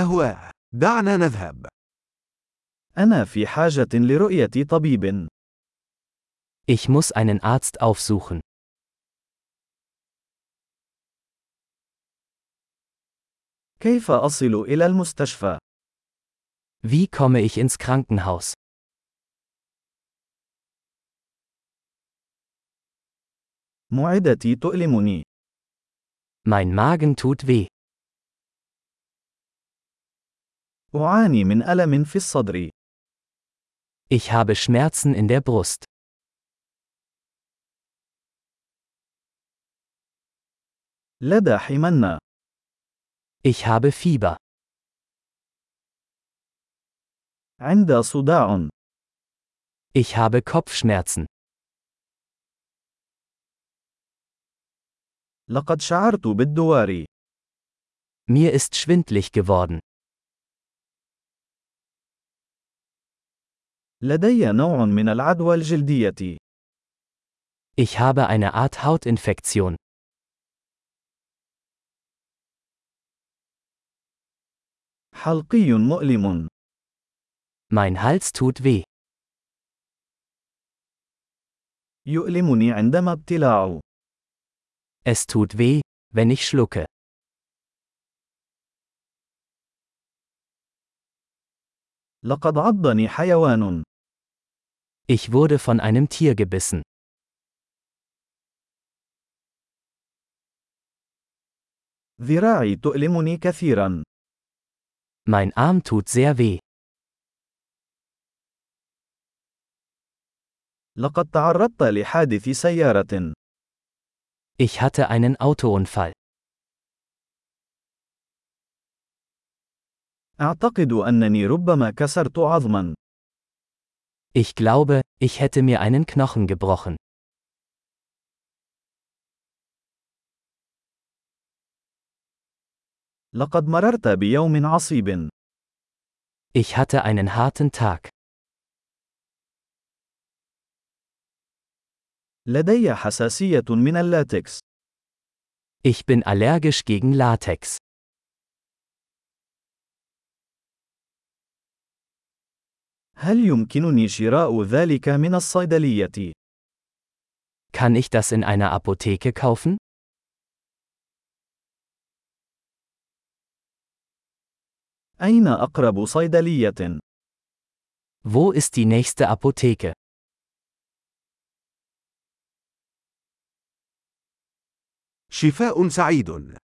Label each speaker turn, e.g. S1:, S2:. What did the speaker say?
S1: أهواه دعنا نذهب
S2: أنا في حاجة لرؤية طبيب.
S3: Ich muss einen Arzt aufsuchen.
S2: كيف أصل إلى المستشفى؟
S3: Wie komme ich ins Krankenhaus?
S2: معدتي تؤلمني.
S3: Mein Magen tut weh.
S2: أعاني من ألم في الصدر.
S3: Ich habe Schmerzen in der Brust.
S2: لدى حمنة.
S3: Ich habe Fieber.
S2: عند صداع.
S3: Ich habe Kopfschmerzen.
S2: لقد شعرت بالدوار.
S3: Mir ist schwindlig geworden.
S2: لدي نوع من العدوى الجلدية.
S3: Ich habe eine Art Hautinfektion.
S2: حلقي مؤلم.
S3: Mein Hals tut weh.
S2: يؤلمني عندما ابتلاع.
S3: Es tut weh, wenn ich schlucke.
S2: لقد عضني حيوان.
S3: Ich wurde von einem Tier gebissen.
S2: ذراعي تؤلمني كثيرا.
S3: Mein Arm tut sehr weh.
S2: لقد تعرضت لحادث سيارة.
S3: Ich hatte einen Autounfall.
S2: أعتقد أنني ربما كسرت عظما.
S3: Ich glaube, ich hätte mir einen Knochen gebrochen.
S2: لقد مررت بيوم عصيب.
S3: Ich hatte einen harten Tag.
S2: لدي حساسية من اللاتكس.
S3: Ich bin allergisch gegen Latex.
S2: هل يمكنني شراء ذلك من الصيدلية؟
S3: Kann ich das in einer Apotheke kaufen?
S2: أين أقرب صيدلية؟
S3: Wo ist die nächste Apotheke?
S1: شفاء سعيد